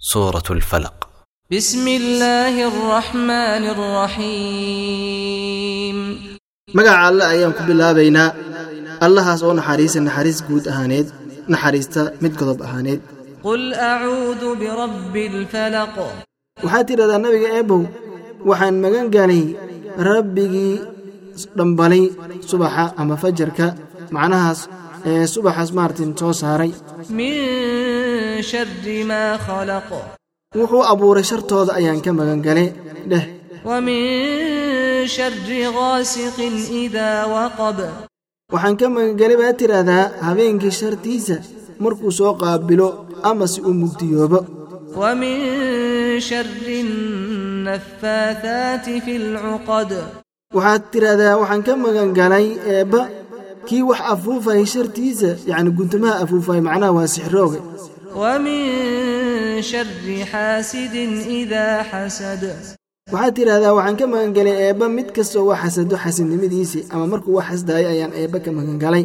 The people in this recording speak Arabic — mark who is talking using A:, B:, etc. A: سورة الفلق
B: بسم الله الرحمن الرحيم
C: magaca alle ayaan ku bilaabaynaa allahaas oo naxariisa naxariis guud ahaaneed naxariista mid godob ahaaneed
B: قل أعوذ برب الفلق
C: waxaad tidhahdaa nabiga eebow waxaan magan galay rabbigii dhambalay subaxa ama fajarka macnahaas ee subaxaas maartin soo saaray
B: من شر ما خلق
C: wuxuu abuuray shartooda ayaan ka magan galay dheh
B: ومن شر غاسق إذا وقب
C: waxaan ka magan galay baad tidhaahdaa habeenkii shartiisa markuu soo qaabilo ama si uu mugdiyoobo
B: ومن شر النفاثات في العقد
C: waxaad tidhaahdaa waxaan ka magan galay eebba kii wax afuufaya shartiisa yacni guntumaha afuufaya macnaha waa sixrooga
B: ومن شر حاسد إذا حسد
C: waxaad tidhaahdaa waxaan ka magan galay eebba mid kastoo wax xasado xasidnimadiisii ama markuu wax xasdaaya ayaan eebba ka magan galay